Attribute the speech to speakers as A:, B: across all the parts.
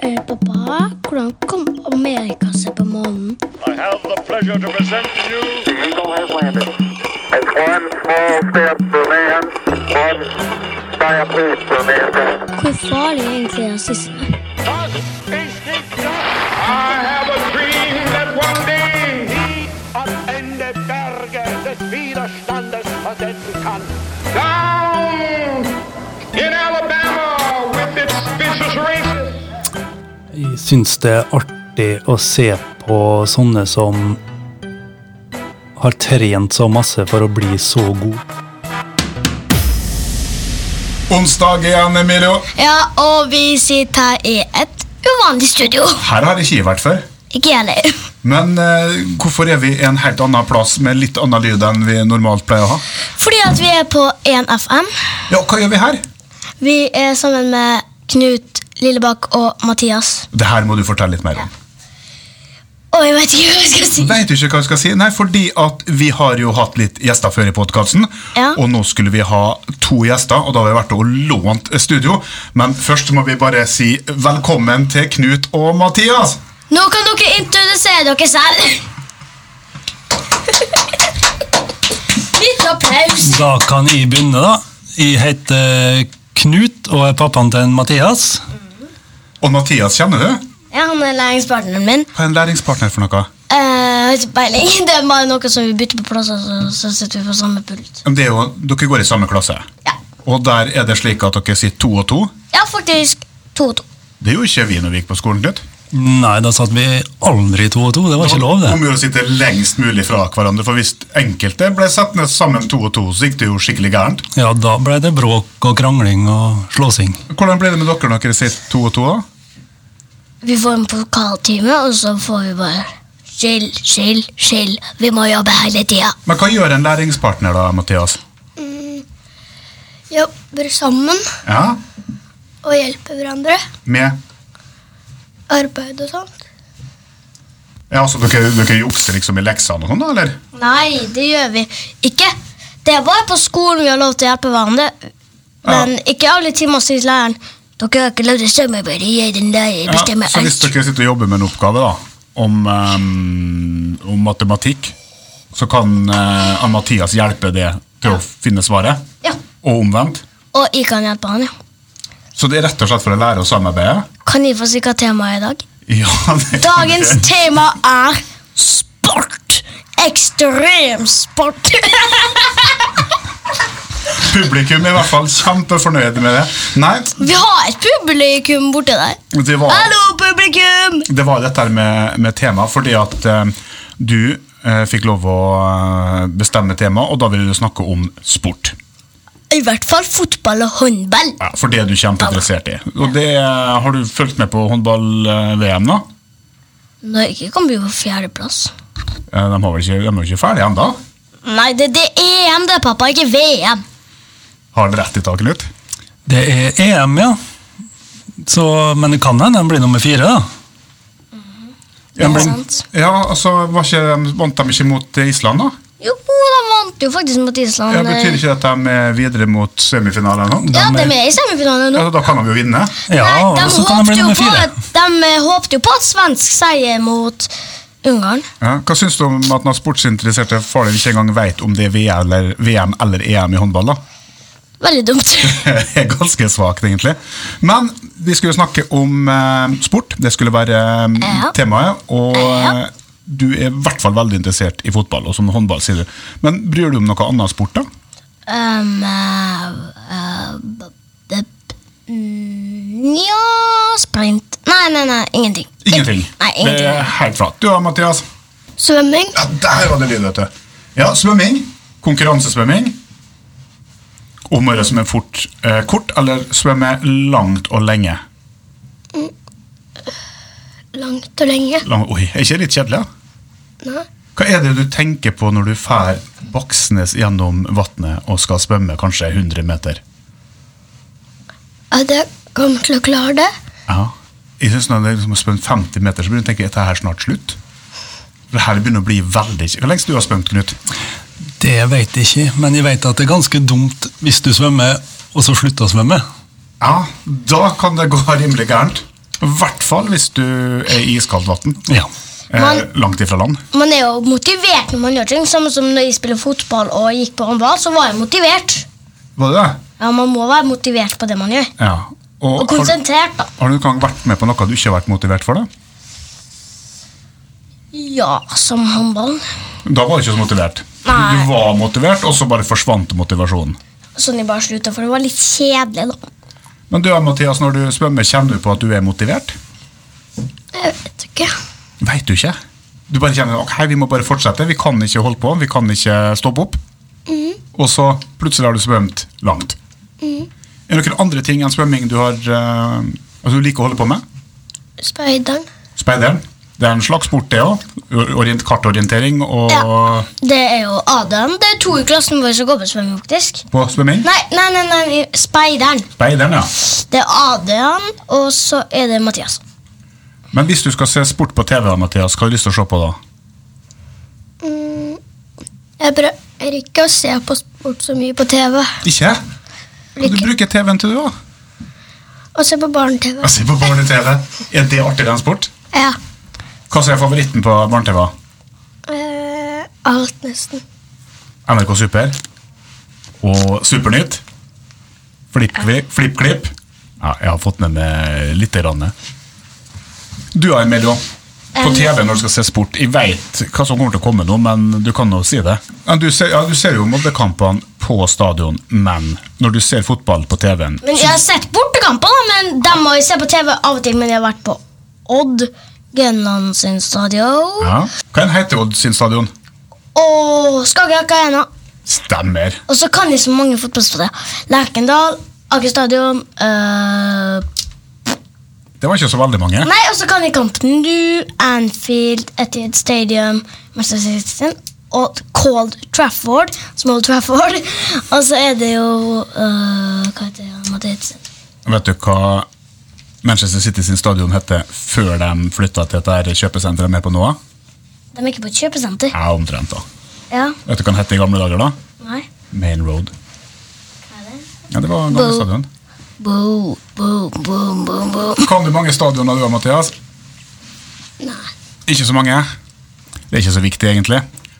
A: Eh, pappa, hvordan kom Amerika seg på månen?
B: I have the pleasure to present to you
C: The Eagle has landed. It's one small step for man, one giant leap for mankind.
A: Hvor farlig er egentlig rasisme?
B: I have a dream that one day
D: die am Ende Berge des Widerstandes versetzen kann.
B: down in Alabama with its vicious races.
E: Jeg syns det er artig å se på sånne som har trent så masse for å bli så god.
F: Onsdag igjen, Emilio.
A: Ja, og vi sitter her i et uvanlig studio.
F: Her har ikke jeg vært før.
A: Ikke jeg heller.
F: Men eh, hvorfor er vi i en helt annen plass med litt annen lyd enn vi normalt pleier å ha?
A: Fordi at vi er på 1FM.
F: Ja, hva gjør vi her?
A: Vi er sammen med Knut Lillebakk og Mathias.
F: Det her må du fortelle litt mer om.
A: Og jeg vet ikke hva jeg skal si.
F: Veit du ikke hva jeg skal si? Nei, fordi at vi har jo hatt litt gjester før i podkasten.
A: Ja.
F: Og nå skulle vi ha to gjester, og da har vi vært og lånt studio. Men først må vi bare si velkommen til Knut og Mathias.
A: Nå kan dere introdusere dere selv. Litt applaus.
E: Da kan jeg begynne, da. Jeg heter Knut og er pappaen til en Mathias.
F: Og Mathias kjenner du?
A: Ja, han er læringspartneren min.
F: Hva er en læringspartner for noe?
A: Eh, har ikke peiling. Det er bare noe som vi bytter på plasser, så, så sitter vi på samme pult.
F: Men Det er jo, dere går i samme klasse.
A: Ja.
F: Og der er det slik at dere sitter to og to.
A: Ja, faktisk to og to.
F: Det gjorde ikke vi når vi gikk på skolen. Knut.
E: Nei, da satt vi aldri to og to. Det var ikke lov, det.
F: Om å gjøre å sitte lengst mulig fra hverandre, for hvis enkelte ble satt ned sammen to og to, så gikk det jo skikkelig gærent.
E: Ja, da ble det bråk og krangling og slåssing.
F: Hvordan ble det med dere når dere sitter to og to? da?
A: Vi får en pokaltime, og så får vi bare Chill, chill, chill. Vi må jobbe hele tida.
F: Men hva gjør en læringspartner da, Mathias?
A: Jobber sammen
F: Ja,
A: og hjelper hverandre.
F: med...
A: Arbeid og sånt.
F: Ja, altså, dere, dere jukser liksom i leksene og sånn, da, eller?
A: Nei, det gjør vi ikke. Det er bare på skolen vi har lov til å hjelpe hverandre. Men ikke alle timer sier læreren Dere har ikke lov til å stemme på det, jeg er den der, jeg
F: Ja,
A: bestemmer
F: så hvis
A: alt.
F: dere sitter og jobber med en oppgave da, om, ehm, om matematikk, så kan eh, han Mathias hjelpe det til å finne svaret,
A: Ja.
F: og omvendt.
A: Og jeg kan hjelpe han, ja.
F: Så det er rett og slett for å lære å samarbeide?
A: Kan jeg få si hva temaet er i dag?
F: Ja, det kan dere.
A: Dagens tema er sport. Ekstremsport.
F: Publikum er i hvert fall kjempefornøyd med det. Nei,
A: Vi har et publikum borte der.
F: det var,
A: Hallo, publikum!
F: det var dette her med, med tema, fordi at eh, du eh, fikk lov å eh, bestemme tema, og da ville du snakke om sport.
A: I hvert fall fotball og håndball.
F: Ja, for det er du kjempeinteressert i. Og det eh, har du fulgt med på håndball-VM, da?
A: Norge kom jo på fjerdeplass.
F: Eh, De, har vel ikke, de er jo ikke ferdige ennå?
A: Nei, det, det er EM, det, pappa. Ikke VM.
F: Har han rett i taket, Knut?
E: Det er EM, ja. Så, men det kan hende den blir nummer fire, da.
A: Det er
F: men-
A: sant.
F: Ja, altså, var ikke, Vant de ikke mot eh, Island, da?
A: Jo, de vant jo faktisk mot Island. eh.
F: Ja, betyr ikke det at de er videre mot semifinale ennå?
A: Ja, de er med i semifinalen nå.
F: Ja, altså, da kan de jo vinne.
E: Ja,
A: Nei,
E: og
A: de,
E: så kan den
A: håpte
E: bli
A: jo
E: nummer
A: på,
E: fire.
A: at- de eh, håpte jo på at svensk seier mot Ungarn.
F: Ja. Hva syns du om at når sportsinteresserte far din ikke engang vet om det er VM eller, VM eller EM i håndball? da?
A: Veldig dumt.
F: Det er ganske svakt, egentlig. Men vi skulle snakke om eh, sport. Det skulle være eh,
A: Ja.
F: temaet. Og
A: Ja.
F: eh, du er i hvert fall veldig interessert i fotball, og som håndball, sier du. Men bryr du om noe annet sport, da?
A: Um, eh, eh, b- det- mm, Nja Sprint. Nei, nei, nei. Ingenting.
F: Ingenting.
A: Nei,
F: Det er
A: ingenting.
F: helt flatt. Du da, Mathias?
A: Svømming.
F: Ja, der var det lyd, vet du. Ja, svømming. Konkurransesvømming. Om å gjøre å svømme fort, eh, kort, eller svømme langt og lenge.
A: Langt og lenge.
F: Lang, oi, er ikke det litt kjedelig? da? Hva er det du tenker på når du fær baksnes gjennom vannet og skal svømme kanskje 100 meter?
A: At jeg kommer til å klare det.
F: Ja. Jeg synes når det er liksom å svømme 50 meter, så begynner du å tenke at dette her er snart slutt. Det her begynner å bli veldig kjedelig. Hvor lengst du har svømt, Knut?
E: Det vet jeg ikke, men jeg vet at det er ganske dumt hvis du svømmer, og så slutter å svømme.
F: Ja, da kan det gå rimelig gærent. I hvert fall hvis du er i iskaldt vann.
E: Ja.
F: Eh,
A: Man-
F: langt ifra land.
A: Man er jo motivert når man gjør ting. Samme som når jeg spiller fotball og gikk på håndball, så var jeg motivert.
F: Var det det?
A: Ja, Man må være motivert på det man gjør.
F: Ja. Og
A: Og
F: har, du-
A: konsentrert, da.
F: har du noen gang vært med på noe du ikke har vært motivert for? Da
A: Ja, som håndballen.
F: Da var du ikke så motivert. Du,
A: Nei.
F: du var motivert, og så bare forsvant motivasjonen.
A: Sånn jeg bare slutta, for det var litt kjedelig, da.
F: Men du, Mathias, når du svømmer, kjenner du på at du er motivert?
A: Jeg vet ikke.
F: Veit du ikke. Du bare kjenner ok, vi må bare fortsette, vi kan ikke holde på, vi kan ikke stoppe opp.
A: Mm.
F: Og så plutselig har du svømt langt. Er det noen andre ting enn svømming du har eh, altså du liker å holde på med?
A: Speideren.
F: Speideren. Det er en slags sport, det òg. Orient, kartorientering og
A: Ja. Det er jo Adam. Det er to i klassen vår som går på svømming, faktisk.
F: på svømming.
A: Nei, nei, nei, nei, speideren.
F: Speideren, ja.
A: Det er Adrian, og så er det Mathias.
F: Men hvis du skal se sport på TV, da, Mathias, hva har du lyst til å se på da?
G: Mm. Jeg prøver ikke å se på sport så mye på TV.
F: Ikke? Du bruker TV-en til du òg.
G: Og se på barne-TV.
F: Se på barne-TV. Er det artigere enn sport?
G: Ja.
F: Hva som er favoritten på barne-TV?
G: Eh, alt, nesten.
F: NRK Super og Supernytt. Flippkli- Flippklipp. Ja, jeg har fått med meg litt. Ranne. Du har en melding også. på
A: Um,
F: TV når du skal se sport. Jeg veit hva som kommer til å komme nå, men du kan jo si det. Ja, du, ser, ja, du ser jo moddekampene på stadion, men når du ser fotball på TV-en
A: Men Jeg har sett bortekamper, da, men dem må jeg se på TV av og til. Men jeg har vært på Odd Grenland sin stadion
F: ja. Hva en heter Odd sin stadion?
A: og Skagerrak Arena.
F: Stemmer.
A: Og så kan de så mange fotballsteder. Lerkendal, Aker stadion øh,
F: Det var ikke så veldig mange.
A: Nei, og så kan de Campen Nou, Anfield, Etiad Stadium, Manchester City og Cold Trafford. Small Trafford. Og så er det jo øh, Hva heter han? Mathias?
F: Vet du hva Manchester City sin stadion hette før de flytta til dette her kjøpesenteret de er på nå?
A: De er ikke på et kjøpesenter.
F: Ja, omtrent, da.
A: Ja,
F: Vet du hva den het i gamle dager, da?
A: nei.
F: Main Road.
A: det?
F: Ja, det var gamle
A: Bo.
F: stadion.
A: Boom, boom, boom, boom, boom.
F: Kan du mange stadioner du har, Mathias?
A: Nei.
F: Ikke så mange. Det er ikke så viktig, egentlig.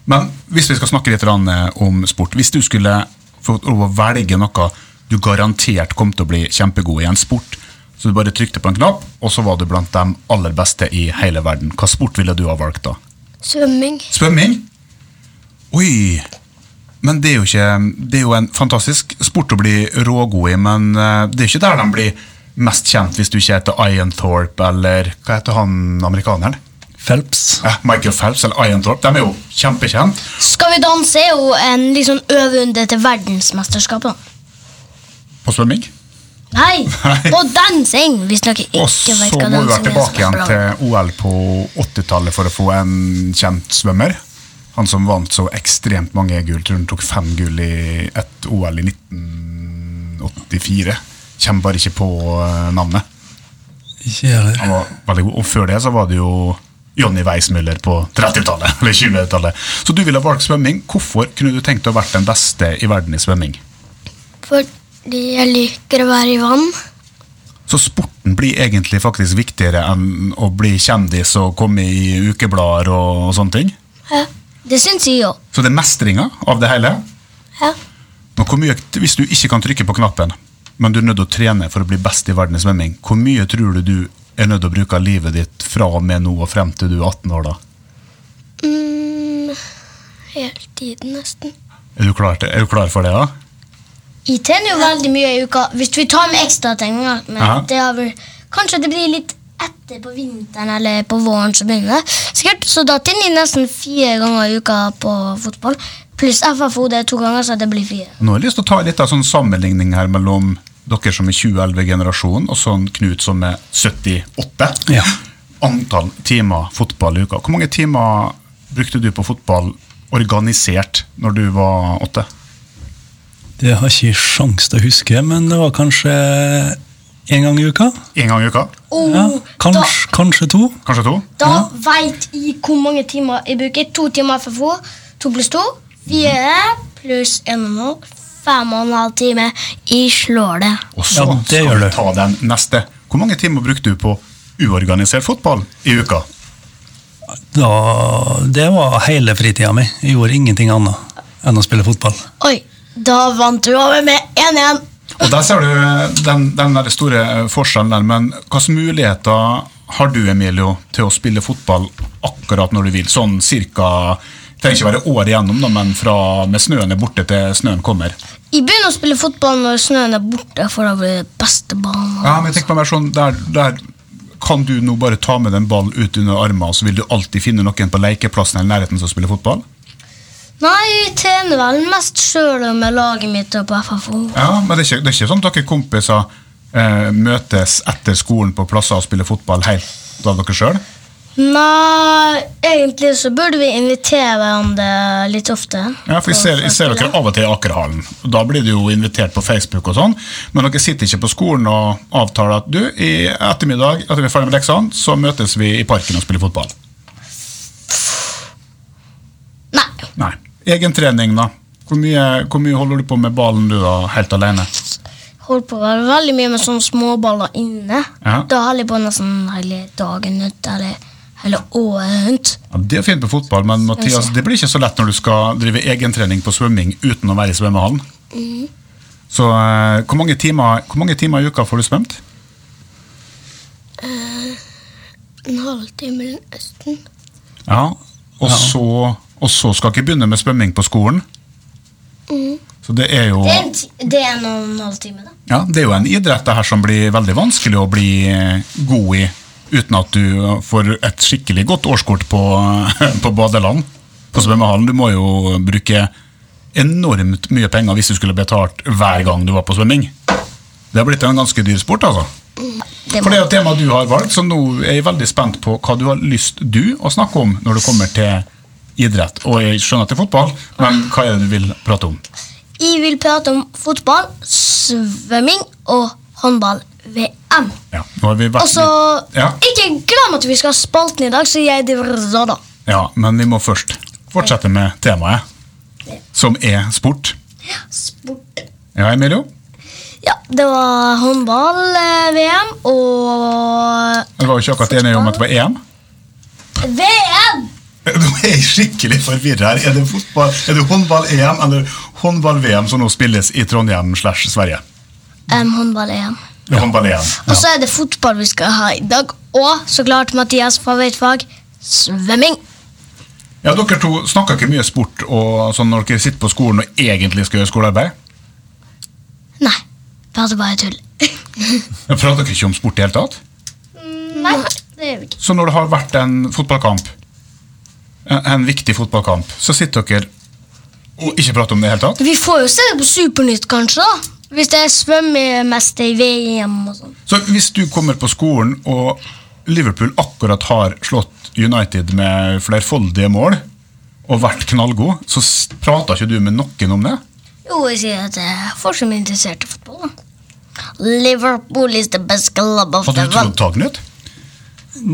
F: Men hvis vi skal snakke litt grann, eh, om sport Hvis du skulle fått lov å velge noe du garantert kom til å bli kjempegod i en sport, så du bare trykte på en knapp, og så var du blant de aller beste i hele verden, hva sport ville du ha valgt da?
G: Svømming.
F: Svømming? Oi! Men det er jo ikke Det er jo en fantastisk sport å bli rågod i, men eh, det er jo ikke der de blir mest kjent hvis du ikke heter Ianthorpe eller Hva heter han amerikaneren?
E: Phelps.
F: Eh, Michael Phelps eller Ianthorpe. De er jo kjempekjent.
A: Skal vi danse er jo en liksom øvrunde til verdensmesterskapet.
F: På svømming.
A: Nei,
F: Nei.
A: på dansing! Hvis dere ikke
F: Og så
A: vet hva
F: må vi være
A: dansing er.
F: tilbake igjen
A: så-
F: til OL på 80-tallet for å få en kjent svømmer. Han som vant så ekstremt mange gull. Tror han tok fem gull i ett OL i 1984. Kommer bare ikke på eh, navnet.
E: Ikke jeg heller.
F: Han var veldig god. Og før det så var det jo Jonny Weissmuller på 30-tallet. eller 20-tallet. Så du ville ha valgt svømming. Hvorfor kunne du tenkt å ha vært den beste i verden i svømming?
G: Fordi jeg liker å være i vann.
F: Så sporten blir egentlig faktisk viktigere enn å bli kjendis og komme i ukeblader og, og sånne ting?
A: Det syns jeg jo.
F: Så det er mestringa av det hele?
G: Ja.
F: Nå, hvor mye, hvis du ikke kan trykke på knappen, men du er nødt til å trene for å bli best i verden i svømming, hvor mye tror du du er nødt til å bruke av livet ditt fra og med nå og frem til du er 18 år, da?
G: Mm, hele tiden, nesten.
F: Er du klar, til, er du klar for det, da?
A: Jeg tjener jo veldig mye i uka hvis vi tar med ekstrategninger. Men
F: Ja.
A: det har vel, kanskje det blir litt etter på vinteren eller på våren så begynner det. Sikkert, Så da tjener jeg nesten fire ganger i uka på fotball. Pluss FFO, det er to ganger, så det blir fire.
F: Nå har jeg lyst til å ta litt av sånn sammenligning her mellom dere som er 2011-generasjonen, og sånn Knut som er 78.
E: Ja.
F: Antall timer fotball i uka. Hvor mange timer brukte du på fotball organisert når du var åtte?
E: Det har ikke jeg sjans til å huske, men det var kanskje én gang i uka.
F: Én gang i uka?
A: Oh,
E: Ja, kanskje, kanskje to.
F: Kanskje to?
A: Da, da veit jeg hvor mange timer jeg bruker. To timer FFO, to pluss to. Fire pluss en og en halv. Fem og en halv time. Jeg slår det.
F: Og så
E: Ja, det
F: skal
E: gjør
F: vi
E: du.
F: ta den neste. Hvor mange timer brukte du på uorganisert fotball i uka?
E: Da, det var hele fritida mi. Jeg gjorde ingenting annet enn å spille fotball.
A: Oi, da vant du over med 1-1.
F: Og Der ser du eh, den, den der store eh, forskjellen der, men hvilke muligheter har du, Emilio, til å spille fotball akkurat når du vil? Sånn cirka Trenger ikke være året igjennom, da, men fra med snøen er borte til snøen kommer.
A: Jeg begynner å spille fotball når snøen er borte, for da blir det beste banen.
F: Ja, men jeg tenker meg mer sånn, der, der kan du nå bare ta med den ballen ut under armen, og så vil du alltid finne noen på lekeplassen eller nærheten som spiller fotball?
A: Nei, jeg trener vel mest sjøl og med laget mitt og på FFO.
F: Ja, men det er ikke, det er ikke sånn at dere kompiser eh, møtes etter skolen på plasser og spiller fotball helt av dere sjøl?
A: Nei, egentlig så burde vi invitere hverandre litt ofte.
F: Ja, for jeg ser, jeg ser dere av og til i Akerhallen. og Da blir du jo invitert på Facebook og sånn. Men dere sitter ikke på skolen og avtaler at du, i ettermiddag etter vi er ferdig med leksene, så møtes vi i parken og spiller fotball.
A: Nei,
F: Nei. Egen trening, da. Hvor mye, hvor mye holder du på med ballen du da, helt alene?
A: holdt på vel veldig mye med sånne småballer inne.
F: Ja.
A: Da holder jeg på nesten hele dagen ut, eller hele året rundt.
F: Ja, det er fint med fotball, men Mathias, det blir ikke så lett når du skal drive egentrening på svømming uten å være i svømmehallen.
A: Mm.
F: Så eh, hvor, mange timer, hvor mange timer i uka får du svømt?
G: En halvtime nesten.
F: Ja, og, Så, og så skal ikke begynne med svømming på skolen. Så det er jo
A: Mm. Det er, en, ti- det er en og en halv time, da.
F: ja, det er jo en idrett det her som blir veldig vanskelig å bli eh, god i uten at du får et skikkelig godt årskort på, på badeland. På svømmehallen. Du må jo bruke enormt mye penger hvis du skulle betalt hver gang du var på svømming. Det har blitt en ganske dyr sport, altså.
A: Det
F: For det er jo temaet du har valgt, så nå er jeg veldig spent på hva du har lyst du å snakke om når det kommer til idrett. Og jeg skjønner at det er fotball, men hva er det du vil prate om?
A: Jeg vil prate om fotball, svømming og håndball-VM.
F: Ja, nå har vi vært
A: Og så
F: litt- ja.
A: Ikke glem at vi skal ha spalten i dag, så jeg driver og da, da.
F: Ja, men vi må først fortsette med temaet, som er sport.
A: Sport.
F: Ja, Emilio?
A: Ja, det var eh, håndball-VM og
F: Vi var jo ikke akkurat enige om at det var EM.
A: VM!
F: Nå er jeg skikkelig forvirra her. Er det, fotball- er det håndball-EM eller håndball-VM som nå spilles i Trondheim slash Sverige?
A: Um, håndball-EM.
F: Det er håndball-EM.
A: Og så er det fotball vi skal ha i dag. Og så klart Mathias favorittfag svømming.
F: Ja, dere to snakker ikke mye sport og sånn når dere sitter på skolen og egentlig skal gjøre skolearbeid?
A: Nei, prater bare tull.
F: Ja, Prater dere ikke om sport i det hele tatt?
A: Nei, det gjør vi ikke.
F: Så når det har vært en fotballkamp, en, en viktig fotballkamp, så sitter dere og ikke prater om det i det hele tatt?
A: Vi får jo se det på Supernytt, kanskje. da. Hvis det er svømmemester i VM og sånn.
F: Så hvis du kommer på skolen og Liverpool akkurat har slått United med flerfoldige mål og vært knallgod, så s- prater ikke du med noen om det?
A: Jo, jeg sier at det er folk som er interessert i fotball. da. Liverpool is the best club of the
F: Hadde du trodd
A: world.
F: det, Knut?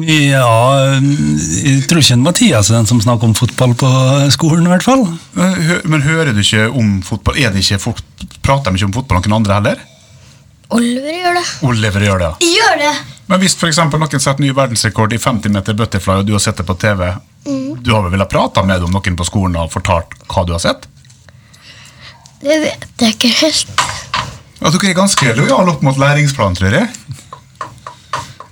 E: Ja, jeg tror ikke en Mathias er den som snakker om fotball på skolen, i hvert fall.
F: Men hø- Men hører du ikke om fotball? Er det ikke fot prater de ikke om fotball noen andre heller?
A: Oliver gjør det.
F: Oliver gjør det. ja.
A: Gjør det!
F: Men hvis for eksempel noen setter ny verdensrekord i 50 meter butterfly, og du har sett det på TV, du har vel villet prate med dem, noen på skolen og fortalt hva du har sett?
A: Det vet jeg ikke helt.
F: Ja, Altså, dere er ganske lojale opp mot læringsplanen, tror jeg.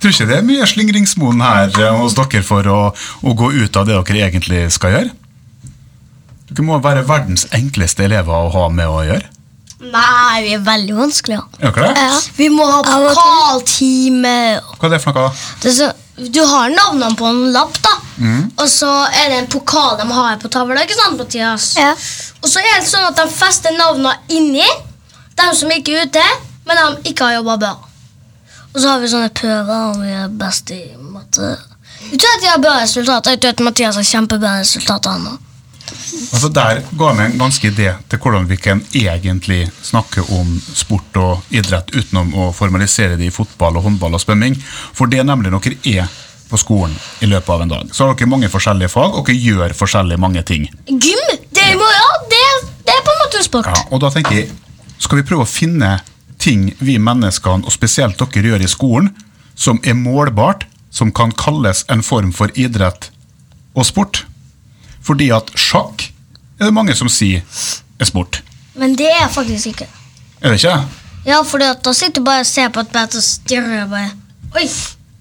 F: Tror ikke det er mye slingringsmonn her eh, hos dere for å, å gå ut av det dere egentlig skal gjøre? Dere må være verdens enkleste elever å ha med å gjøre.
A: Nei, vi er veldig vanskelige. ja.
F: Er dere det?
A: Vi må ha
G: Av og til.
A: pokaltime.
F: Hva er det for noe? da?
A: Det er så- Du har navnene på en lapp, da. Og så er det en pokal de har på tavla. ikke sant, Mathias?
G: Ja.
A: Og så er det sånn at de fester navnene inni. De som ikke er ute, men de ikke har jobba bra. Og så har vi sånne prøver om vi er best i matte. Jeg tror at jeg har bra resultater. Jeg tror at Mathias har kjempebra resultater. han også.
F: Altså Der ga jeg meg en ganske idé til hvordan vi kan egentlig snakke om sport og idrett utenom å formalisere det i fotball, og håndball og svømming. For det er nemlig dere er på skolen i løpet av en dag. Så har dere mange forskjellige fag, og dere gjør forskjellig mange ting.
A: Gym! Det er i morgen. Det, det er på en måte en sport.
F: Ja, og da tenker jeg, skal vi prøve å finne ting vi menneskene, og spesielt dere gjør i skolen, som er målbart, som kan kalles en form for idrett og sport. Fordi at sjakk er det mange som sier er sport.
A: Men det er faktisk ikke.
F: Er det ikke?
A: Ja, for da sitter du bare og ser på et brett og stirrer bare. Oi,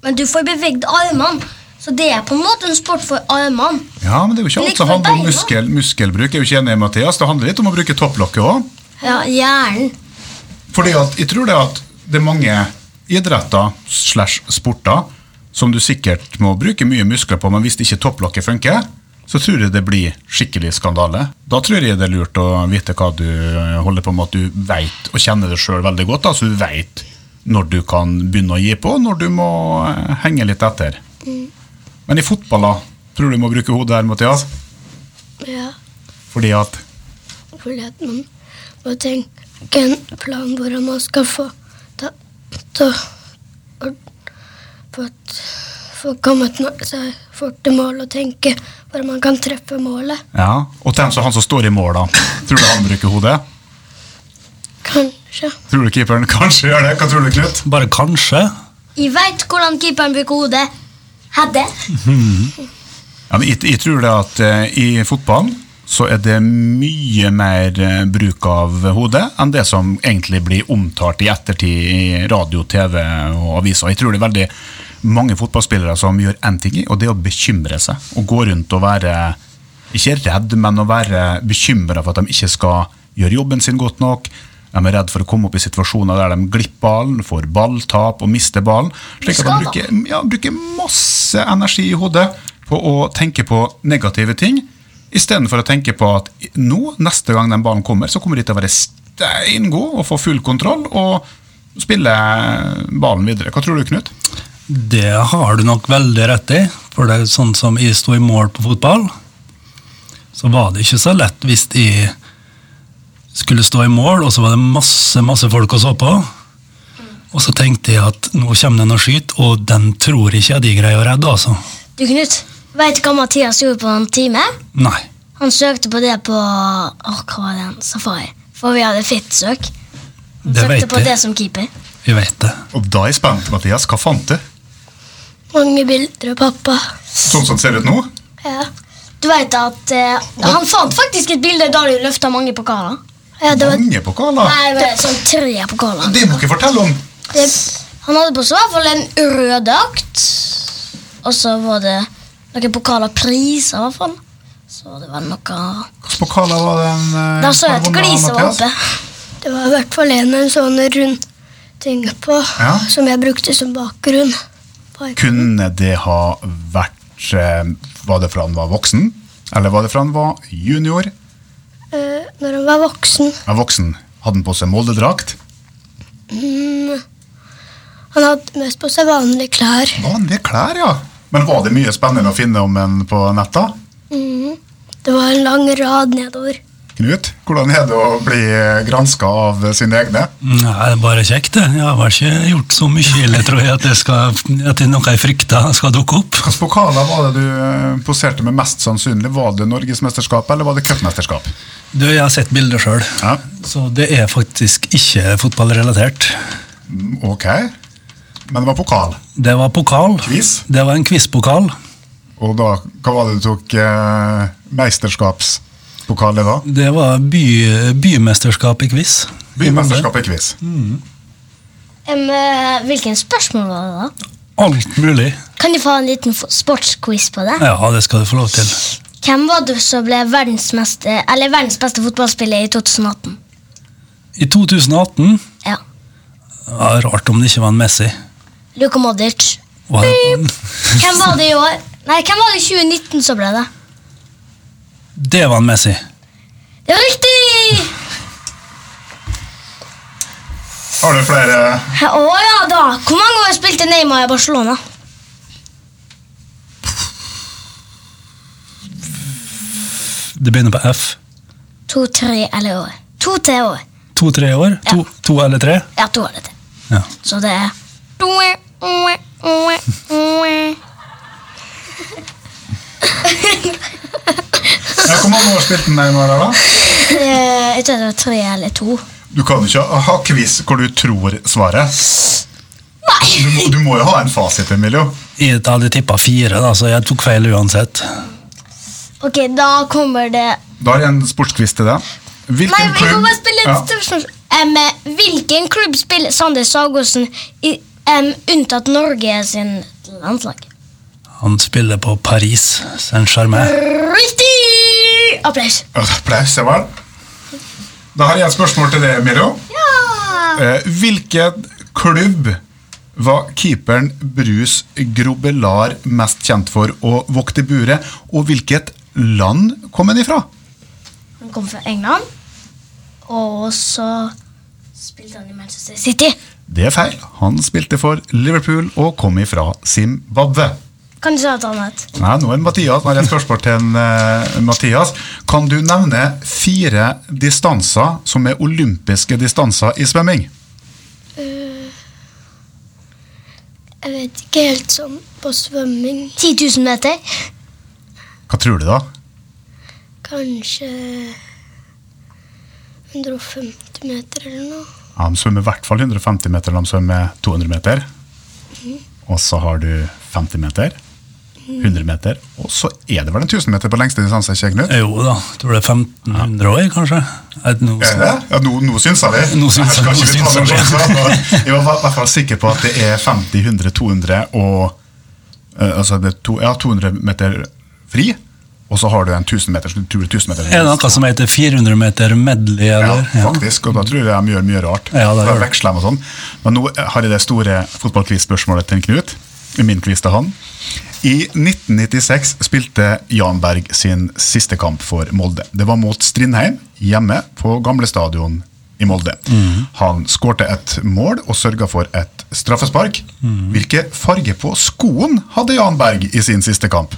A: men du får beveget armene. Så det er på en måte en sport for armene.
F: Ja, men det er jo ikke alt som
A: Liksom
F: handler om
A: beina.
F: muskel, muskelbruk. Jeg er jo ikke enig med Mathias. Det handler litt om å bruke topplokket òg.
A: Ja, hjernen.
F: Fordi at jeg tror det at det er mange idretter slash sporter som du sikkert må bruke mye muskler på, men hvis ikke topplokket funker, så tror jeg det blir skikkelig skandale. Da tror jeg det er lurt å vite hva du holder på med, at du veit og kjenner det sjøl veldig godt. Da, så du veit når du kan begynne å gi på, og når du må eh, henge litt etter. Men i fotball, da? Tror du du må bruke hodet her, Mathias?
G: Ja,
F: Fordi at
G: fordi at man må tenke en plan hvordan man skal få ta, ta, og, få, få kommet nå- seg fort til mål og tenke hvordan man kan treffe målet.
F: Ja. Og den som han som står i mål, da. Tror du han bruker hodet?
G: Kanskje.
F: Tror du keeperen kanskje gjør det? Hva tror du, Knut?
E: Bare kanskje.
A: Jeg veit hvordan keeperen bruker hodet. Hadde.
F: Ja, men jeg, jeg tror det at eh, i fotballen så er det mye mer eh, bruk av hodet enn det som egentlig blir omtalt i ettertid i radio, TV og aviser. Jeg tror det er veldig mange fotballspillere som gjør én ting, og det er å bekymre seg. Og gå rundt og være, ikke redd, men å være bekymra for at de ikke skal gjøre jobben sin godt nok. De er redd for å komme opp i situasjoner der de glipper ballen, får balltap og mister ballen. Slik at de
A: Skader.
F: bruker ja, bruker masse energi i hodet på å tenke på negative ting, istedenfor å tenke på at nå, neste gang den ballen kommer, så kommer de til å være steingod og få full kontroll og spille ballen videre. Hva tror du, Knut?
E: Det har du nok veldig rett i. For det er sånn som jeg sto i mål på fotball, så var det ikke så lett hvis jeg skulle stå i mål, og så var det masse, masse folk å så på. Og så tenkte jeg at nå kommer den og skyter, og den tror ikke jeg de greier å redde, altså.
A: Du, Knut, veit du hva Mathias gjorde på en time?
E: Nei.
A: Han søkte på det på åh, hva var det han? Safari. For vi hadde fittsøk. Han
E: Det
A: søkte
E: vet
A: på
E: jeg.
A: det som keeper.
E: Vi vet det.
F: Og Da er jeg spent, Mathias. Hva fant du?
G: Mange bilder av pappa.
F: Sånn som det ser ut nå?
G: Ja,
A: Du veit at eh, Han fant faktisk et bilde da du løfta mange pokaler.
G: ja det var
F: Mange pokaler.
A: Nei, men sånn tre pokaler.
F: Det må dere fortelle om.
A: Det, han hadde på seg i hvert fall en rød drakt. Og så var det noen pokaler priser, i hvert fall. Så det var noe
F: Hvilke pokaler var den? eh,
A: Da så jeg at
F: vunnet av
A: gliset var
F: Mathias?
A: oppe.
G: Det var i hvert fall en en sånn rund ting på,
F: Ja.
G: som jeg brukte som bakgrunn. Bare-
F: Kunne det ha vært eh, Var det fra han var voksen? Eller var det fra han var junior?
G: Eh, når han var voksen.
F: Er voksen. Hadde han på seg moldedrakt?
G: Mm, han hadde mest på seg vanlige klær.
F: Vanlige klær, ja. Men var det mye spennende å finne om en på netta?
G: Mm, det var en lang rad nedover.
F: Knut, hvordan er det å bli granska av sine egne?
E: Nei, det er bare kjekt, det. Jeg har ikke gjort så mye heller, tror jeg, at, det skal, at det er noe jeg frykter skal dukke opp.
F: Hvilke pokaler var det du eh, poserte med mest sannsynlig? Var det Norgesmesterskapet eller var det cupmesterskap?
E: Du, jeg har sett bilder sjøl,
F: Ja.
E: så det er faktisk ikke fotballrelatert.
F: Ok. Men det var pokal.
E: Det var pokal.
F: Quiz.
E: Det var en quizpokal.
F: Og da, hva var det du tok eh, meisterskapspokal i da?
E: Det var by, bymesterskap i quiz.
F: Bymesterskapet i quiz.
A: Em, eh, hvilken spørsmål var det, da?
E: Alt mulig.
A: Kan jeg få en liten fo- sportsquiz på det?
E: Ja, det skal du få lov til.
A: Hvem var det som ble verdens, meste, eller verdens beste fotballspiller i 2018?
E: I 2018
A: Ja.
E: ja, Rart om det ikke var en Messi.
A: Luka Modic.
E: Var det,
A: Hvem var det i år? Nei, hvem var det i 2019 som ble det?
E: det var en Messi.
A: Det var riktig!
F: Har du flere
A: Å ja da. Hvor mange år spilte Neymar i Barcelona?
E: Det begynner på F.
A: To, tre eller år. To-tre år.
E: To-tre år? To, to eller tre?
A: Ja, to år dette.
E: Ja.
A: Så det er
F: ja, Hvor mange år spilte den Neymar der, da?
A: Eh, Jeg tror det var tre eller to.
F: Du kan jo ikke ha quiz hvor du tror svaret.
A: Nei, Nei!
F: Du, må- du må jo ha en fasit, Emilio.
E: Jeg hadde tippa fire, da, så jeg tok feil uansett.
A: Ok, da kommer det
F: Da har jeg en sportsquiz til deg. Hvilken
A: Nei, vi må bare spille
F: Ja.
A: et spørsmål. Em, eh, hvilken klubb spiller Sander Sagosen i, em, unntatt Norge sin landslag?
E: Han spiller på Paris Saint-Germain.
A: Riktig! Applaus.
F: Applaus, ja vel. Da har jeg et spørsmål til deg, Emilio.
A: Ja!
F: Eh, hvilken klubb var keeperen Bruce Grobelar mest kjent for å vokte buret, og hvilket land kom han ifra?
A: Han kom fra England, og så spilte han i Manchester City.
F: Det er feil. Han spilte for Liverpool og kom ifra Zimbabwe.
A: Kan du si noe annet?
F: Nei, nå er det Mathias. Nå har jeg et spørsmål til en, eh, Mathias. Kan du nevne fire distanser som er olympiske distanser i svømming?
G: Jeg vet ikke helt sånn på svømming.
A: 10 000 meter.
F: Hva tror du, da?
G: Kanskje 150 meter eller noe.
F: Ja, de svømmer i hvert fall 150 meter når de svømmer 200 meter. Og så har du 50 meter, 100 meter, og så er det vel en 1000 meter på lengste distanse? ikke Knut?
E: Jo da, jeg tror det er 1500 år, kanskje. Jeg vet
F: Er det?
E: noe-
F: Ja, nå, nå syns jeg det.
E: Nå syns jeg-
F: Skal
E: nå
F: ikke vi ta
E: syns jeg
F: noen
E: det.
F: sjanser, men Jeg var i hvert- hvert fall sikker på at det er 50, 100, 200 og eh, altså det er to, ja, 200 meter fri. Og så har du en 1000 meter. så du tror det er 1000 meter.
E: Er det noe som heter 400 meter medley, eller?
F: Ja, faktisk, og da tror jeg de gjør mye rart.
E: Ja, det
F: Da
E: gjør det.
F: veksler de og sånn. Men nå har jeg det store fotballquiz-spørsmålet til Knut. Min quiz til han. I 1996 spilte Jan Berg sin siste kamp for Molde. Det var mot Strindheim, hjemme på gamle stadion i Molde.
E: Mhm.
F: Han skårte et mål og sørga for et straffespark.
E: Mhm.
F: Hvilke farger på skoen hadde Jan Berg i sin siste kamp?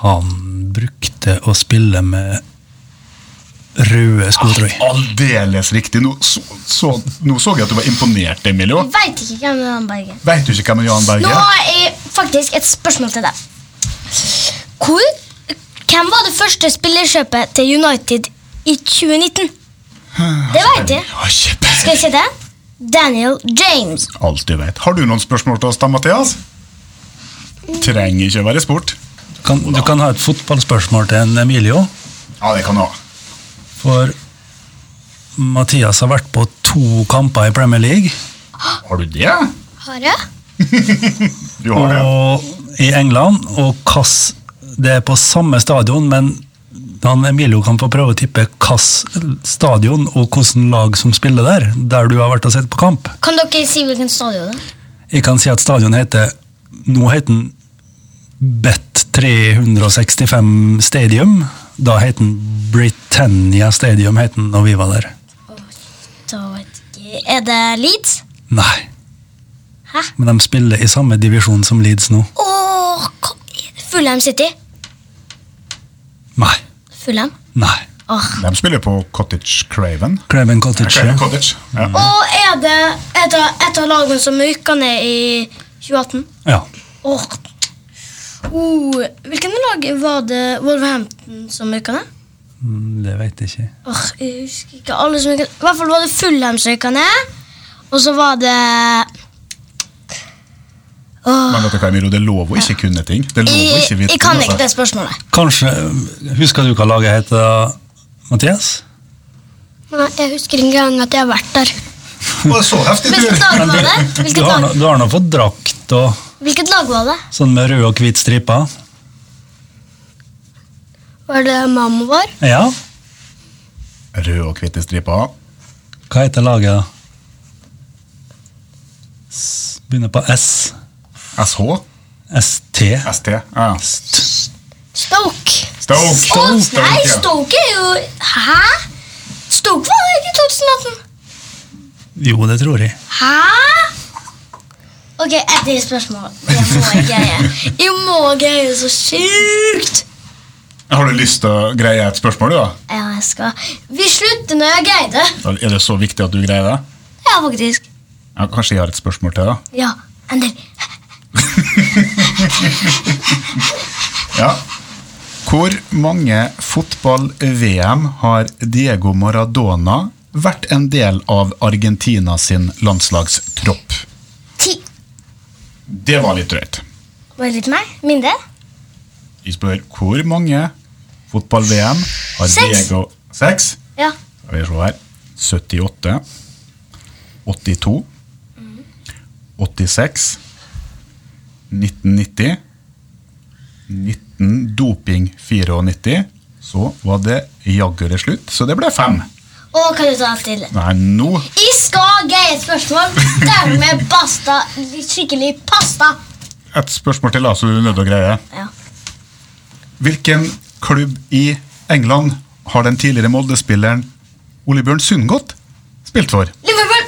E: Han brukte å spille med røde sko, tror jeg.
F: Aldeles riktig. Nå så, så, nå så jeg at du var imponert, Emilio.
A: Jeg veit ikke hvem det er han Bergen.
F: Veit du ikke hvem Jan Berg
A: Nå
F: er?
A: har jeg faktisk et spørsmål til deg. Hvor, hvem var det første spillerkjøpet til United i 2019? Det veit jeg.
F: Har ikke
A: Skal
F: peiling.
A: jeg si det? Daniel James.
F: Alt du vet. Har du noen spørsmål til oss da, Mathias? Trenger ikke være sport.
E: Kan, du kan ha et fotballspørsmål til en Emilio.
F: Ja, det kan du ha.
E: For Mathias har vært på to kamper i Premier League.
F: Har du det?
G: Har jeg?
F: Du har det.
E: Og i England. Og Kass, det er på samme stadion, men han Emilio kan få prøve å tippe hvilken stadion og hvilket lag som spiller der. Der du har vært og sett på kamp.
A: Kan dere si hvilken stadion det er?
E: Jeg kan si at stadion heter Nå heter den Bet 365 Stadium. Da het den Britannia Stadium het den når vi var der.
A: Da vet jeg ikke. Er det Leeds?
E: Nei.
A: Hæ?
E: Men de spiller i samme divisjon som Leeds nå.
A: Åh, kom igjen. Fulham City.
E: Nei.
A: Fulham.
E: Nei.
A: Åh.
F: De spiller på Cottage Craven.
E: Craven Cottage.
F: Craven
E: ja.
F: Cottage. Ja. Mm.
A: Og er det et av, et av lagene som rykka ned i 2018?
E: Ja.
A: Åh. Oh, hvilken lag var det Wolverhampton som rykka ned?
E: Mm, Det vet jeg ikke.
A: Åh, jeg husker ikke alle som rykka I hvert fall var det Fulham som rykka ned. Og så var det Åh.
F: Men vet du hva, Emilio, det er lov å ikke kunne ting. Det er lov å
A: Jeg,
F: ikke vite
A: jeg kan
F: ting,
A: ikke
F: altså.
A: det spørsmålet.
E: Kanskje Husker du hva laget heter, Mathias?
G: Nei, jeg husker ikke engang at jeg har vært der.
F: Å, det er så heftig
A: Hvilket
F: tur!
A: lag
E: Men
A: var det?
E: du, du,
A: Hvilket
E: har
A: lag,
E: nå- du har nå fått drakt og
A: hvilket lag var det?
E: sånn med rød og hvit stripe.
G: Var det mamma vår?
E: Ja.
F: Rød og hvite striper.
E: Hva heter laget, da? S- Begynner på S.
F: SH.
E: ST.
F: ST. Ja.
E: St-
A: Stoke.
F: Stoke.
A: Å, nei,
F: ja.
A: Stoke er jo Hæ? Stoke var det ikke i 2018.
E: Jo, det tror jeg.
A: Hæ? Ok, et til spørsmål. Det må jeg greie. Jeg må greie så sjukt.
F: Har du lyst til å greie et spørsmål, du, da?
A: Ja, jeg skal. Vi slutter når jeg greier det.
F: Da Er det så viktig at du greier det?
A: Ja, faktisk.
F: Ja, kanskje jeg har et spørsmål til, da?
A: Ja, endelig.
F: Ja. Hvor mange fotball-VM har Diego Maradona vært en del av Argentina sin landslagstropp? Det var litt drøyt.
A: Var det litt meg? Mindre?
F: Jeg spør hvor mange fotball-VM har
A: Seks.
F: Diego Seks?
A: Ja.
F: Skal vi se her. 78. 82. 86. 1990. 19 doping 94. Så var det jaggu det slutt, så det ble fem.
A: Og kan du ta alt til?
F: Nei, nå
A: I skal greie et spørsmål. Dermed basta skikkelig pasta.
F: Et spørsmål til, da, så du er nødt til å greie.
A: Ja.
F: Hvilken klubb i England har den tidligere Molde-spilleren Ole Bjørn Sundgodt spilt for?
A: Liverpool!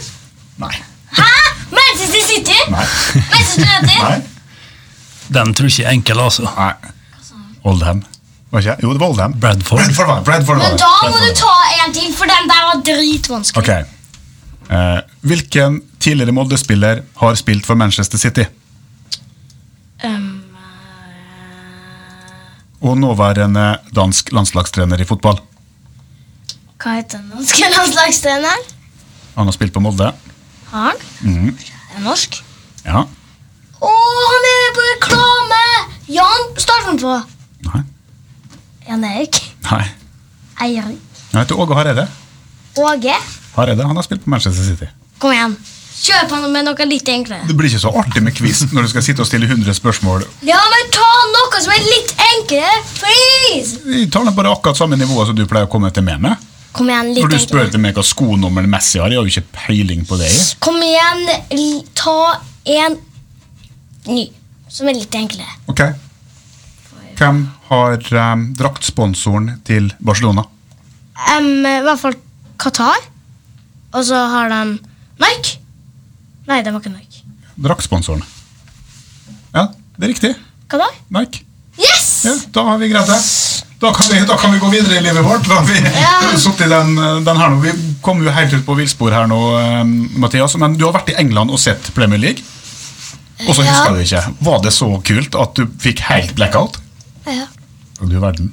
F: Nei.
A: Hæ? Manchester City?
F: Nei.
A: Manchester United?
F: Nei.
E: Den tror jeg ikke er enkel, altså.
F: Nei. Oldham. Var ikke? jeg? Jo, det var Oldham.
E: Bradford.
F: Bradford, var det, Bradford var
A: Men
F: det.
A: da må
F: Bradford.
A: du ta en til, for den der var dritvanskelig.
F: Ok. Eh, hvilken tidligere Molde-spiller har spilt for Manchester City?
A: Um, eh,
F: Og nåværende dansk landslagstrener i fotball.
A: hva heter den norske landslagstreneren?
F: Han har spilt på Molde.
A: Har han?
F: Mhm.
A: Er han norsk?
F: Ja.
A: Å, han er på reklame! Jan starter han på.
F: Nei.
A: Jan Erik.
F: Nei.
A: Eirik.
F: Han heter Åge Hareide.
A: Åge.
F: Hareide, han har spilt på Manchester City.
A: Kom igjen. Kjøp han med noe litt enklere.
F: Det blir ikke så artig med quiz når du skal sitte og stille 100 spørsmål.
A: Ja, men ta noe som er litt enklere, please!
F: Vi tar den bare akkurat samme nivået som du pleier å komme til meg med.
A: Kom igjen, litt
F: For du spør
A: enklere.
F: til meg hva skonummeren Messi har. Jeg har jo ikke peiling på det. jeg.
A: Kom igjen, l- ta en ny, som er litt enklere.
F: Ok. Hvem har eh, draktsponsoren til Barcelona?
A: Em, I hvert fall Qatar. Og så har de Nike. Nei, det var ikke Nike.
F: Draktsponsoren. Ja, det er riktig.
A: Hva da?
F: Nike.
A: Yes!
F: Ja, da har vi greid det. Da kan, vi, da kan vi gå videre i livet vårt. Da har vi
A: Ja.
F: satt i den, den her nå. Vi kom jo helt ut på villspor her nå, eh, Mathias. Men du har vært i England og sett Premier League. Og så
A: Ja.
F: husker du ikke. Var det så kult at du fikk helt blackout?
A: Ja.
F: Du verden.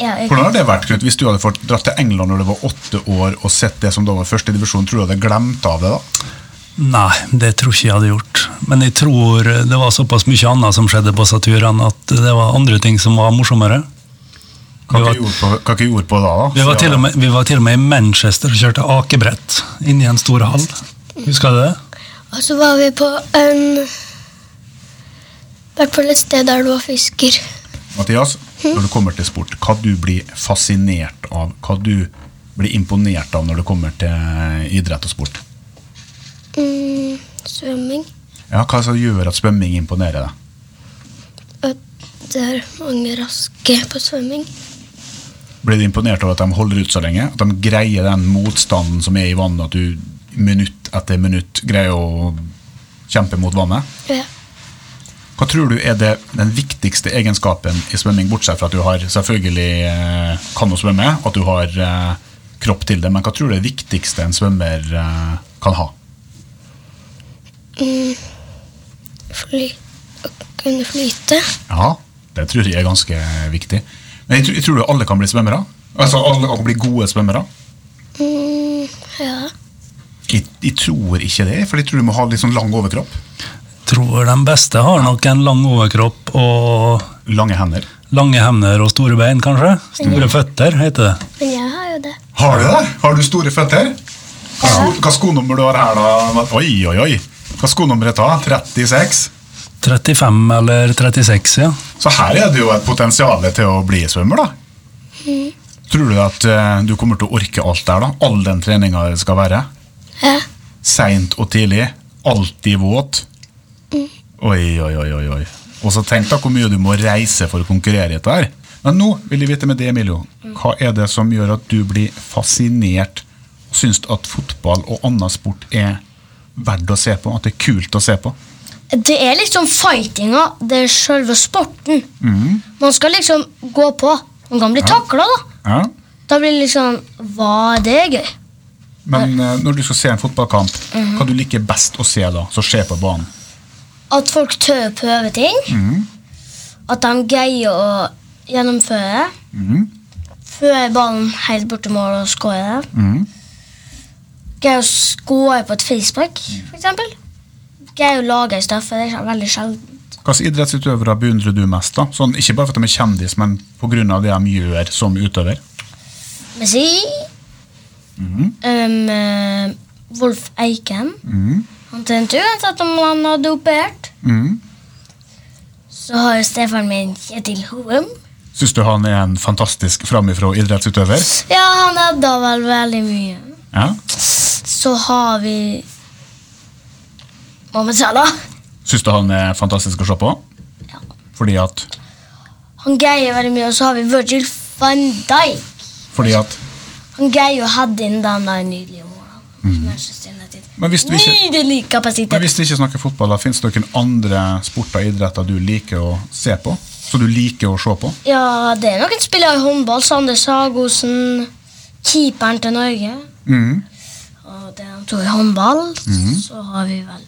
A: Ja, jeg,
F: Hvordan hadde det vært, Knut, hvis du hadde fått dratt til England når du var åtte år og sett det som da var første divisjon? Tror du hadde glemt av det da?
E: Nei, det tror ikke jeg hadde gjort. Men jeg tror det var såpass mye annet som skjedde på Saturene at det var andre ting som var morsommere.
F: Hva
E: Vi var-
F: dere gjorde på, hva dere gjorde på da? da?
E: Vi var, til og med, vi var til og med i Manchester og kjørte akebrett inni en stor hall. Husker du det?
G: Og så var vi på en hvert fall et sted der det var fisker.
F: Mathias, når du kommer til sport, hva du blir fascinert av, hva du blir imponert av når det kommer til idrett og sport?
G: Mm, svømming.
F: Ja, Hva som gjør at svømming imponerer deg?
G: At det er mange raske på svømming.
F: Blir du imponert over at de holder ut så lenge? At de greier den motstanden som er i vannet, at du minutt etter minutt greier å kjempe mot vannet?
G: Ja.
F: Hva tror du er det, den viktigste egenskapen i svømming, bortsett fra at du har selvfølgelig eh, kan å svømme, at du har eh, kropp til det, men hva tror du er det viktigste en svømmer eh, kan ha?
G: Fly, å kunne flyte.
F: Ja, det tror jeg er ganske viktig. Men jeg, tror- jeg tror du alle kan bli svømmere. Altså alle kan bli gode svømmere.
G: Mm, ja.
F: Jeg, jeg tror ikke det, for jeg tror du må ha litt sånn lang overkropp.
E: Tror de beste har nok en lang overkropp og
F: Lange hender.
E: lange hender og store bein, kanskje? Store føtter, heter det.
G: Men jeg har jo det.
F: Har du det? Har du store føtter? Hva, sko, hva skonummer du har her da? Oi, oi, oi. Hva skonummeret da? 36?
E: 35 eller 36, ja.
F: Så her er det jo et potensial til å bli svømmer, da. Tror du at eh, du kommer til å orke alt der, da? All den treninga det skal være?
G: Ja.
F: Seint og tidlig. Alltid våt. Oi, oi, oi, oi. oi. Og så tenk da hvor mye du må reise for å konkurrere i dette her. Men nå vil jeg vite med det, Emilio. Hva er det som gjør at du blir fascinert og syns at fotball og annen sport er verdt å se på? At det er kult å se på?
A: det er liksom fightinga. Det er selve sporten.
F: Mhm.
A: Man skal liksom gå på. Man kan bli takla, da.
F: Ja.
A: Da blir det liksom Var det gøy?
F: Men eh, når du skal se en fotballkamp, hva du liker best å se da, som skjer på banen?
A: At folk tør å prøve ting.
F: Mhm.
A: At de greier å gjennomføre. Føre ballen helt bort til mål og skåre.
F: Mhm. Mhm.
A: Greier å skåre på et frispark, f.eks. greier å lage stoff, for det er veldig sjelden.
F: Hvilke idrettsutøvere beundrer du mest? da? Sånn, ikke bare for at de er kjendis, men pga. det de gjør som utøver.
A: Messi. Um, eh, Wolf Eiken.
F: Mhm.
A: Han trente uansett om han hadde operert.
F: Mm.
A: Så har jo stefaren min Kjetil Hoem.
F: Syns du han er en fantastisk framifrå idrettsutøver?
A: Ja, han hadde vel veldig mye.
F: Ja.
A: Så har vi Mohammed Salah.
F: Syns du han er fantastisk å se på?
A: Ja.
F: Fordi at
A: Han greier veldig mye, og så har vi Virgil van Dijk.
F: Fordi at
A: Han greier å ha inn den der nydelige målen. Manchester United.
F: Men hvis du ikke,
A: Nydelig
F: Mm. men
A: kapasitet.
F: hvis du ikke snakker fotball, da fins det noen andre sporter og idretter du liker å se på? Så du liker å se på?
A: Ja, det er noen spillere i håndball. Sander Sagosen. Keeperen til Norge.
F: Mm.
A: Og det er han to i håndball. Så har vi vel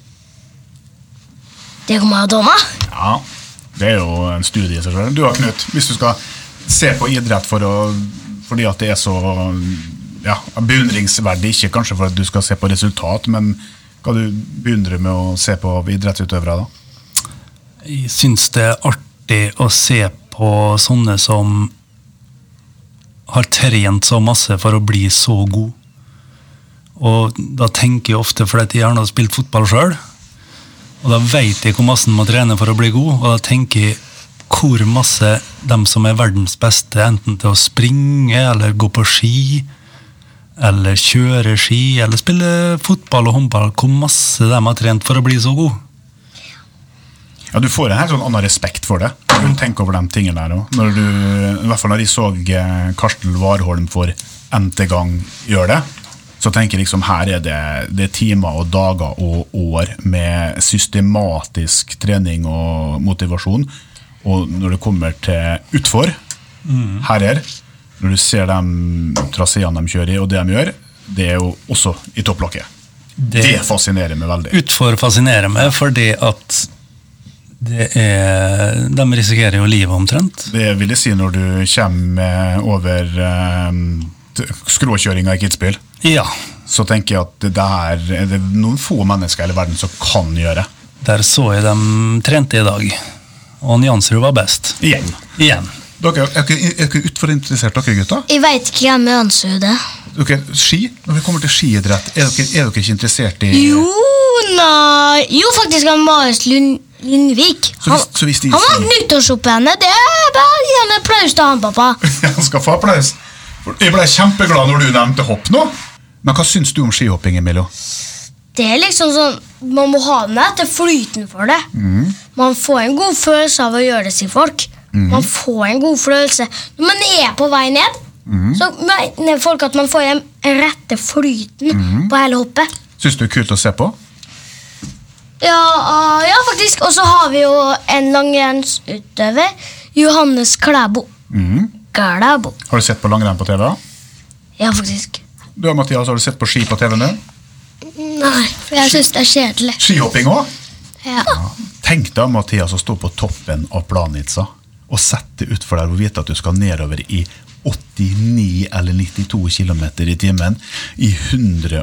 A: Diego Maradona.
F: Ja, det er jo en studie i seg selv. Du da, Knut, hvis du skal se på idrett for å, fordi at det er så ja, beundringsverdig, ikke kanskje for at du skal se på resultat, men hva du beundrer med å se på idrettsutøvere da?
E: Jeg syns det er artig å se på sånne som har trent så masse for å bli så god. Og da tenker jeg ofte, fordi at jeg gjerne har spilt fotball sjøl, og da veit jeg hvor masse en må trene for å bli god, og da tenker jeg hvor masse de som er verdens beste, enten til å springe eller gå på ski, eller kjøre ski, eller spille fotball og håndball, hvor masse de har trent for å bli så god.
F: Ja, Du får en helt sånn annen respekt for det. når Du tenker over de tingene der også. Når du, I hvert fall når jeg så eh, Karsten Warholm for n-te gang gjøre det, så tenker jeg liksom her er det, det er timer og dager og år med systematisk trening og motivasjon. Og når det kommer til utfor, herrer, når du ser de traseene de kjører i, og det de gjør, det er jo også i topplokket. Det, fascinerer meg veldig.
E: utfor fascinerer meg, fordi at det er, de risikerer jo livet omtrent.
F: Det vil jeg si når du kommer eh, over eh, t- skråkjøringa i Kitzbühel.
E: Ja,
F: Så tenker jeg at det her er det noen få mennesker i hele verden som kan gjøre.
E: der så jeg dem trente i dag. Og Njansrud var best.
F: Igjen.
E: Igjen.
F: Dere er ikke, er ikke utforinteressert, dere gutter?
A: Jeg veit ikke hvem Ørnshud er.
F: Dere, ski? Når det kommer til skiidrett, er dere, er dere ikke interessert i
A: Jo, nei Jo, faktisk han Marius Lund Lindvik.
F: Så
A: Han,
F: hvis- så hvis de-
A: han vant nyttårshopprennet. Det er bare å gi han applaus til han, pappa.
F: Jeg skal få applaus. Jeg ble kjempeglad når du nevnte hopp nå. Men hva syns du om skihopping, Emilio?
A: Det er liksom sånn Man må ha den der til flyten for det.
F: Mhm.
A: Man får en god følelse av å gjøre det, sier folk. Man får en god følelse når man er på vei ned.
F: Mhm.
A: Så mener folk at man får den rette flyten
F: Mhm.
A: på hele hoppet.
F: Syns du det er kult å se på?
A: Ja, ah, ja faktisk. Og så har vi jo en langrennsutøver. Johannes Klæbo. Klæbo.
F: Har du sett på langrenn på TV? da?
A: Ja, faktisk.
F: Du, Mathias, har du sett på ski på TV nå?
G: Nei, for jeg syns det er kjedelig.
F: Skihopping òg?
G: Ja.
F: Tenk da, Mathias, å stå på toppen av Planica og sette utfor der og vite at du skal nedover i 89 eller 92 km i timen i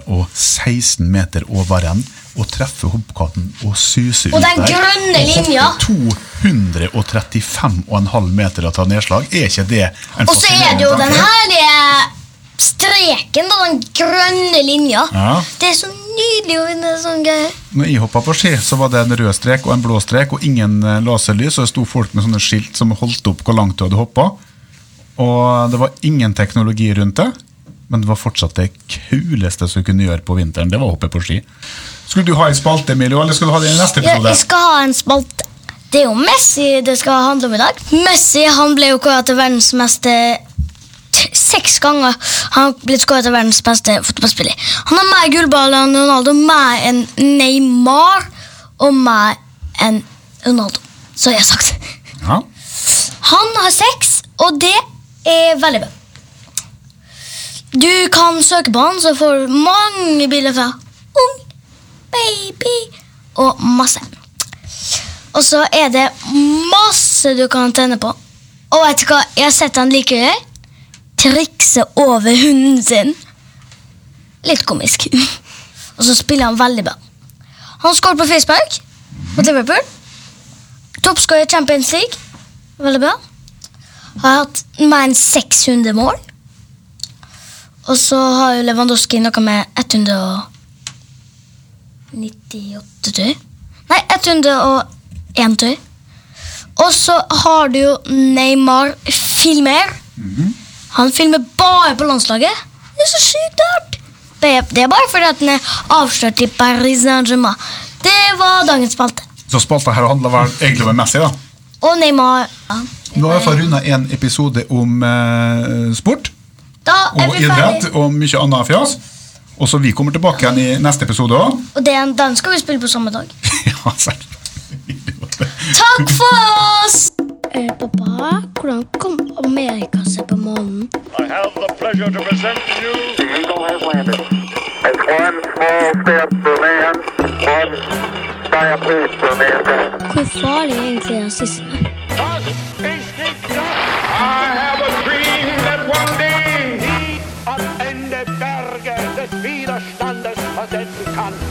F: 116 meter over renn og treffe hoppkatten og suse ut
A: Og den grønne linja.
F: Og hoppe 235,5 meter og ta nedslag. Er ikke det en
A: Og så er det jo den herlige streken, da, den grønne linja.
F: Ja.
A: Det er så nydelig å vinne sånn greier.
F: Når jeg hoppa på ski, så var det en rød strek og en blå strek og ingen eh, laserlys, og det sto folk med sånne skilt som holdt opp hvor langt du hadde hoppa. Og det var ingen teknologi rundt det, men det var fortsatt det kuleste som du kunne gjøre på vinteren. Det var å hoppe på ski. Skulle du ha en spalte, Emilio, eller skal du ha det i neste
A: Jeg,
F: episode?
A: jeg skal ha en spalte. Det er jo Messi det skal handle om i dag. Messi han ble jo kåret til verdens meste t- seks ganger. Han har blitt kåret til verdens beste fotballspiller. Han har mer gullballer enn Ronaldo, mer enn Neymar og mer enn Ronaldo. Så har jeg sagt.
F: Ja.
A: Han har seks, og det er veldig bra. Du kan søke på han, så får du mange bilder fra ung, baby og masse. Og så er det masse du kan tenne på. Og vet du hva jeg har sett han like gøy? Trikse over hunden sin. Litt komisk. Og så spiller han veldig bra. Han skåret på frispark mot Liverpool. Toppskårer i Champions League. Veldig bra. Har hatt mer enn 600 mål. Og så har jo Lewandowski noe med 198 tur. Nei, 101 tur. Og så har du jo Neymar Filmer. Han filmer bare på landslaget. Det er så sykt rart. Det er- Det er bare fordi at den er avslørt i Paris Saint-Germain. Det var dagens spalte.
F: Så spalta her handla vel egentlig om Messi, da.
A: Og Neymar ja.
F: Nå har jeg fått runda en episode om eh, sport
A: Da er
F: og
A: vi
F: idrett
A: ferdig.
F: og mye annet fjas. Og så vi kommer tilbake igjen i neste episode òg.
A: Og den, den skal vi spille på samme dag.
F: ja, selv.
A: Takk for oss!
G: Eh, Pappa, hvordan kom Amerika seg på månen?
B: I have the pleasure to present to you
C: The Eagle has landed. It's one small step for man, one giant leap for mankind.
G: Hvor farlig er egentlig rasisme?
D: Das ist nicht das
B: I have a dream that one day
D: die am Ende Berge des Widerstandes versetzen kann.